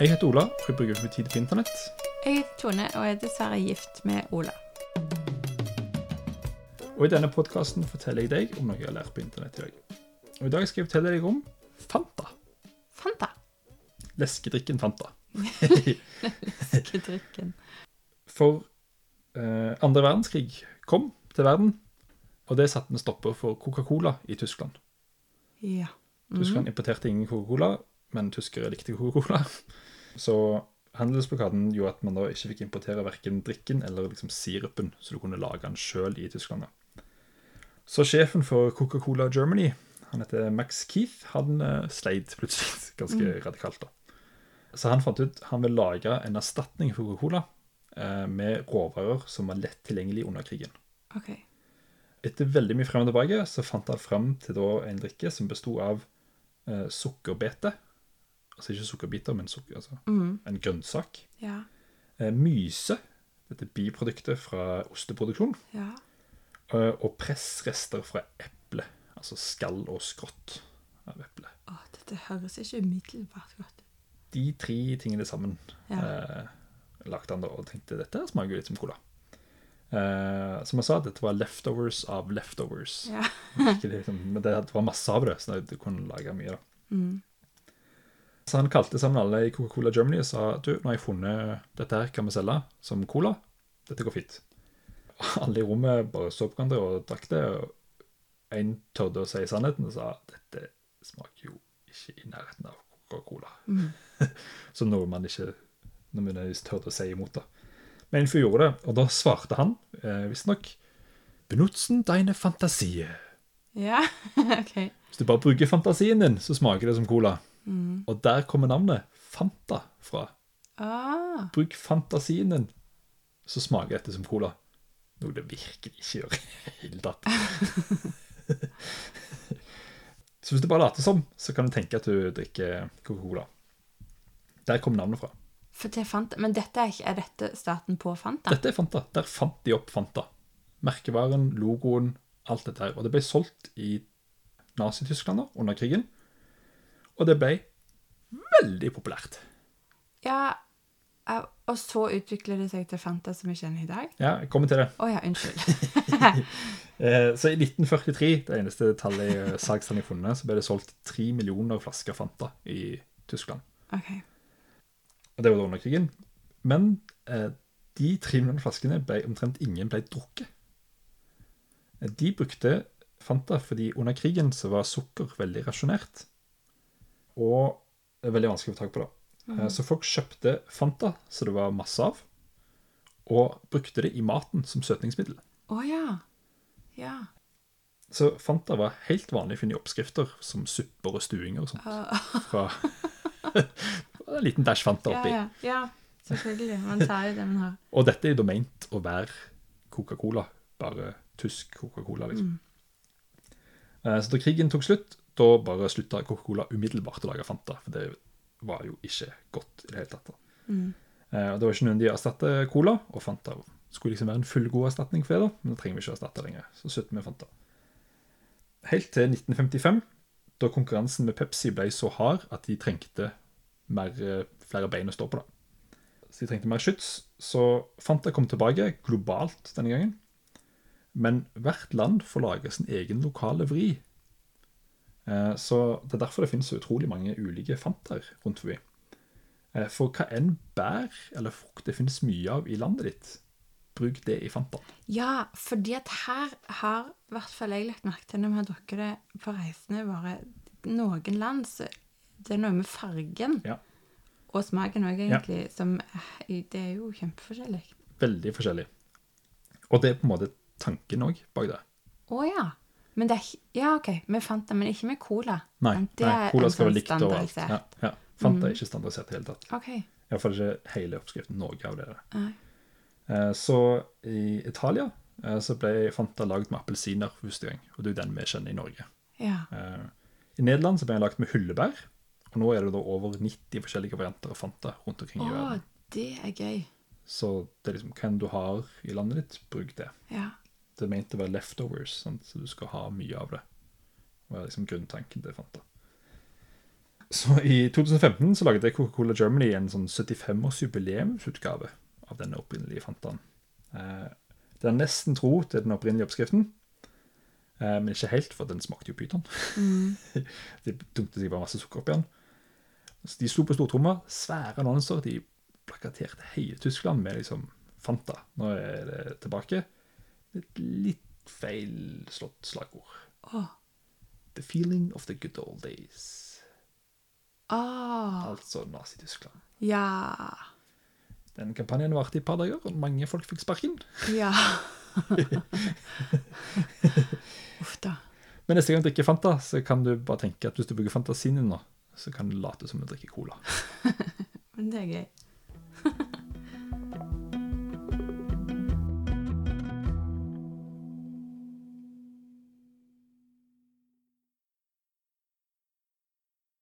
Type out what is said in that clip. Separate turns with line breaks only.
Jeg heter Ola, og jeg bruker mye tid på internett.
Jeg heter Tone og er dessverre gift med Ola.
Og i denne podkasten forteller jeg deg om noe jeg har lært på internett i dag. Og i dag skal jeg fortelle deg om Fanta.
Fanta.
Leskedrikken Fanta.
Leskedrikken.
For eh, andre verdenskrig kom til verden, og det satte en stopper for Coca-Cola i Tyskland.
Ja.
Tyskland importerte ingen Coca-Cola, men tyskere likte Coca-Cola. Så handelsblokaden gjorde at man da ikke fikk importere verken drikken eller liksom sirupen, så du kunne lage den sjøl i Tyskland. da. Så sjefen for Coca-Cola Germany, han heter Max Keith, han eh, sleit plutselig ganske radikalt. da. Så han fant ut han ville lage en erstatning for Coca-Cola eh, med råvarer som var lett tilgjengelig under krigen.
OK.
Etter veldig mye frem og tilbake så fant han frem til da en drikke som bestod av eh, sukkerbete. Altså ikke sukkerbiter, men sukker, altså.
Mhm.
en grønnsak.
Ja.
Eh, myse, dette biproduktet fra osteproduksjon.
Ja.
Eh, og pressrester fra eple, altså skall og skrått av eple.
Å, dette høres ikke umiddelbart godt ut.
De tre tingene sammen
Ja.
eh, lagde han da og tenkte dette smaker jo litt som cola. Eh, som jeg sa, dette var leftovers av leftovers.
Ja.
Virkelig, liksom, men det det var masse av det, så du kunne lage mye. da.
Mm.
Så han kalte sammen alle i Coca-Cola Germany og sa du, nå har jeg funnet dette her, kan vi selge som cola? Dette går fint. Og Alle i rommet bare så på hverandre og drakk det. og En tørde å si sannheten og sa dette smaker jo ikke i nærheten av Coca-Cola. så noe man ikke nødvendigvis tørde å si imot. da. Men en fyr gjorde det, og da svarte han eh, visstnok Benutzen deine Fantasie.
Ja, OK.
Hvis du bare bruker fantasien din, så smaker det som cola. Og der kommer navnet Fanta fra.
Ah,
Bruk fantasien din, så smaker dette som cola. Noe det virkelig ikke gjør i det hele tatt. så hvis du bare later som, så kan du tenke at du drikker Coca-Cola. Der kom navnet fra.
for det er Fanta. Men dette er, ikke, er dette starten på Fanta?
Dette er Fanta. Der fant de opp Fanta. Merkevaren, logoen, alt dette her. Og det ble solgt i Nazi-Tyskland da, under krigen. Og det ble veldig populært.
Ja. eh, Og så utvikler det seg til Fanta som vi kjenner i dag?
Ja, jeg kommer til det.
Å ja, unnskyld.
Eh, så i 1943, det eneste tallet i eh, salgstall jeg har funnet, så ble det solgt tre millioner flasker Fanta i Tyskland.
OK.
Og det var da under krigen. Men eh, de tre millioner flaskene ble omtrent ingen ble drukket. Eh, De brukte Fanta fordi under krigen så var sukker veldig rasjonert. Og det er veldig vanskelig å få tak på det.
Mhm.
Eh, Så folk kjøpte Fanta, så det var masse av, og brukte det i maten som søtningsmiddel.
Å ja. Ja.
Så Fanta var helt vanlig å finne i oppskrifter som supper og stuinger og sånt.
Ah.
Fra en liten dash Fanta
Ja,
oppi.
ja. ja. Selvfølgelig. Man tar jo det man har.
Og dette er jo da meint å være Coca-Cola, bare tysk Coca-Cola, liksom. Eh, Så da krigen tok slutt, da bare slutta Coca-Cola umiddelbart å lage Fanta, for det var jo ikke godt i det hele tatt. da. Eh, Og det var ikke noen de erstatte Cola, og Fanta skulle liksom være en fullgod erstatning for det, da, men det trenger vi ikke å erstatte lenger. Så slutter vi med Fanta. Helt til 1955, da konkurransen med Pepsi ble så hard at de trengte mer, eh, flere bein å stå på. da så de trengte mer skyts. Så Fanta kom tilbake globalt denne gangen. Men hvert land får lage sin egen lokale vri. Eh, Så Det er derfor det finnes så utrolig mange ulike Fantaer rundt forbi. Eh, For hva enn bær eller frukt det finnes mye av i landet ditt, bruk det i Fantaen.
Ja, fordi at her har i hvert fall jeg lagt merke til når vi har drukket det på reisene våre Noen land så det er noe med fargen
Ja.
og smaken òg, egentlig, som eh, Det er jo kjempeforskjellig.
Veldig forskjellig. Og det er på en måte tanken òg bak det.
Å ja. Men det er ikke- Ja, OK, vi fant det, men ikke med cola.
Nei,
Men det
nei
er
cola
en
skal
sånn
være likt overalt.
standardisert. Mm.
Ja, ja. Fanta er ikke standardisert i det hele tatt.
OK.
Iallfall ikke hele oppskriften. Noe av det. er det.
Nei.
Eh, Så i Italia eh, så ble Fanta lagd med appelsiner for første gang. Og det er jo den vi kjenner i Norge.
Ja.
Eh, I Nederland så ble den lagd med hullebær. Og nå er det da over 90 forskjellige varianter av Fanta rundt omkring
Å,
i verden.
det er gøy.
Så det er liksom hvem du har i landet ditt, bruk det.
Ja.
Det er ment å være leftovers, sant? så du skal ha mye av det. Det var liksom grunntanken til Fanta. Så i 2015 så lagde Coca-Cola Germany en sånn 75-årsjubileumsutgave av den opprinnelige Fantaen. Eh, Det er nesten tro til den opprinnelige oppskriften, eh, men ikke helt, for den smakte jo pyton. de dumpte seg bare masse sukker oppi den. Så de slo på stortromma, svære annonser. De plakaterte hele Tyskland med liksom Fanta. Nå er det tilbake. Et litt feilslått slagord.
Åh.
The feeling of the good old days.
Åh,
Altså Nazi-Tyskland.
ja.
Den kampanjen varte i et par dager, og mange folk fikk sparken.
Ja. Uff da.
Men neste gang du drikker Fanta, så kan du bare tenke at hvis du bruker fantasien din nå, så kan du late som du drikker cola.
Men det er gøy.